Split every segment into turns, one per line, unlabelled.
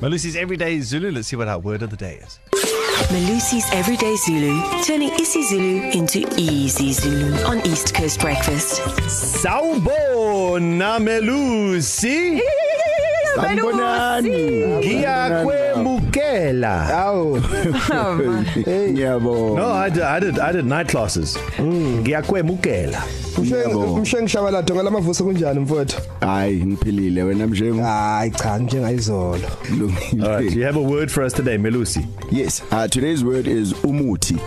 Malusi's Everyday Zulu. Let's see what our word of the day is.
Malusi's Everyday Zulu, turning Isi Zulu into easy Zulu on East Coast Breakfast.
Sawubona Melusi.
Sanibonani.
Ngiyakwemukela.
Aw.
No,
Ngiyabonga.
Oh, I did, I did I did night classes. Mm. Ngiyakwemukela.
Yebo.
umshengishabalatho ngalamavuso kunjani mfowethu
Hayi ngiphilile wena mjengu.
hayi cha njengayizolo
All right, do you have a word for us today, Melusi?
Yes, uh, today's word is umuthi.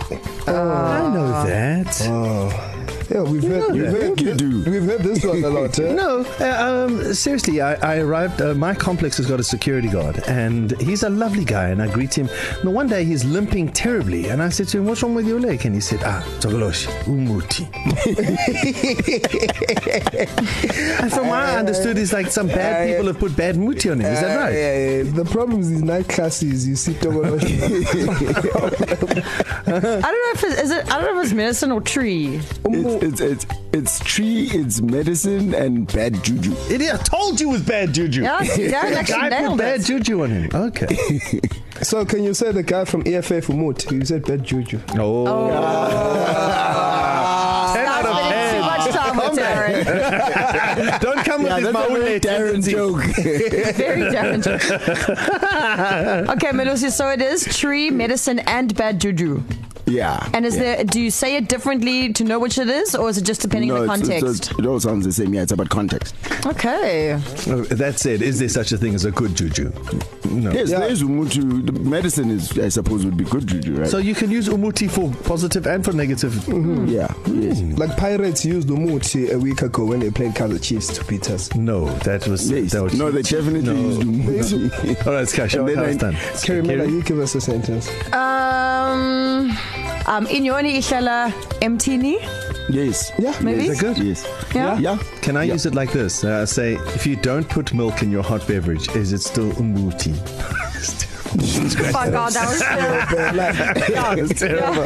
I know that.
yeah we've heard
You
we've
think
heard,
you do?
we've heard this one a lot eh?
No, uh, um, seriously, I, I arrived. Uh, my complex has got a security guard, and he's a lovely guy, and I greet him. Now, one day he's limping terribly, and I said to him, What's wrong with your leg? And he said, Ah, Togolosh, umuti. and from what I understood, it's like some bad people have put bad muti on him. Is that right?
Eh, the problem is in night classes you sit over
I don't know if it's, is it. I don't know if it's medicine or tree.
It's it's it's it's tree, it's medicine and bad juju.
Idiot, I told you it was bad juju.
Yeah, Darren
The
actually
guy put
nailed
bad
it.
juju on him. Okay.
so can you say the guy from E EFF Umut you said bad juju
Oh. Ten out of
Spending too
ten.
much time with Darren.
Don't come with
Yeah,
this
that's a very
Maule
Darren
tendency.
joke.
Very Darren. okay, Melusi. So it is tree, medicine, and bad juju.
yeah.
And is
yeah.
there? Do you say it differently to know which it is, or is it just depending on the
it's-
context?
It's, it's, it all sounds the same. Yeah, it's about context.
okay.
Uh, That said, is there such a thing as a good juju? No.
Yes,
Yeah.
yeah. there is umuthi. The medicine is, I suppose, would be good juju, right?
So
So,
you can use umuti for positive and for negative.
yeah. Yes.
like Pirates used Umuti a week ago when they played Kaizer Chiefs to beat us
No, that was
yes.
that was
No, they definitely no. used umuthi.
All right, Skash,
And then
how it's
I-
done.
Kerry Miller
Kerry?
you give us a sentence
Um. Um. Inyoni ihlala emtini.
yes.
Yeah,
Maybe?
Yes.
Is it good?
Yes.
Yeah.
Yeah.
Can I
yeah.
use it like this? Uh, say, if you don't put milk in your hot beverage, is it still umuti?
By God, oh, that was terrible.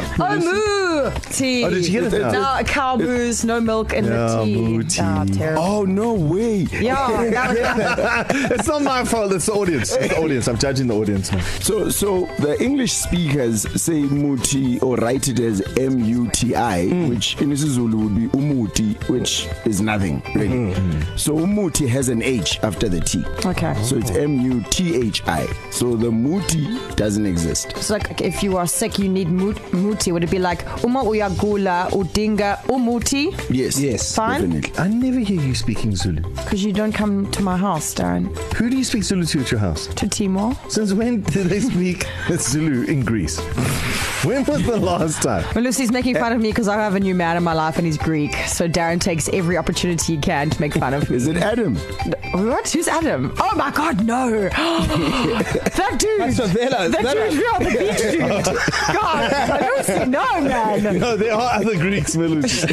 yeah. Oh, moo tea.
Oh, did you get it now?
No, cow moos, no milk in
Yeah,
the tea.
moo tea.
Ah, terrible.
Oh no way!
Yeah, that was
it's not my fault. It's the audience. It's the audience. I'm judging the audience now.
So, so the English speakers say muti or write it as M U T I,
Mm.
which in isiZulu would be umuti, which is nothing really. So umuti has an H after the T.
Mm-hmm. Okay. Oh.
So it's M U T H I. So the muti doesn't exist.
It's like if you are sick, you need mood, muti. Would it be like uma uyagula udinga umuti?
Yes.
Yes.
Fine.
Definitely.
I never hear you speaking Zulu.
Because you don't come to my house, Darren.
Who do you speak Zulu to at your house?
To Timor.
Since when did they speak Zulu in Greece? When was the last time?
Well, Lucy's making fun of me because I have a new man in my life and he's Greek. So Darren takes every opportunity he can to make fun of me.
Is it Adam?
What? Who's Adam? Oh my God, no! that dude.
That's Favela, is
That
that
dude, yeah, the beach dude. God, I don't see. No, man.
No, there are other Greeks, Melusi.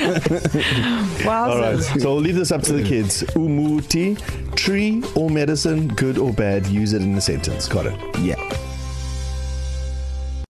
Wow.
All right, so we'll leave this up to the kids. Umuti, tree or medicine, good or bad, use it in a sentence. Got it.
Yeah.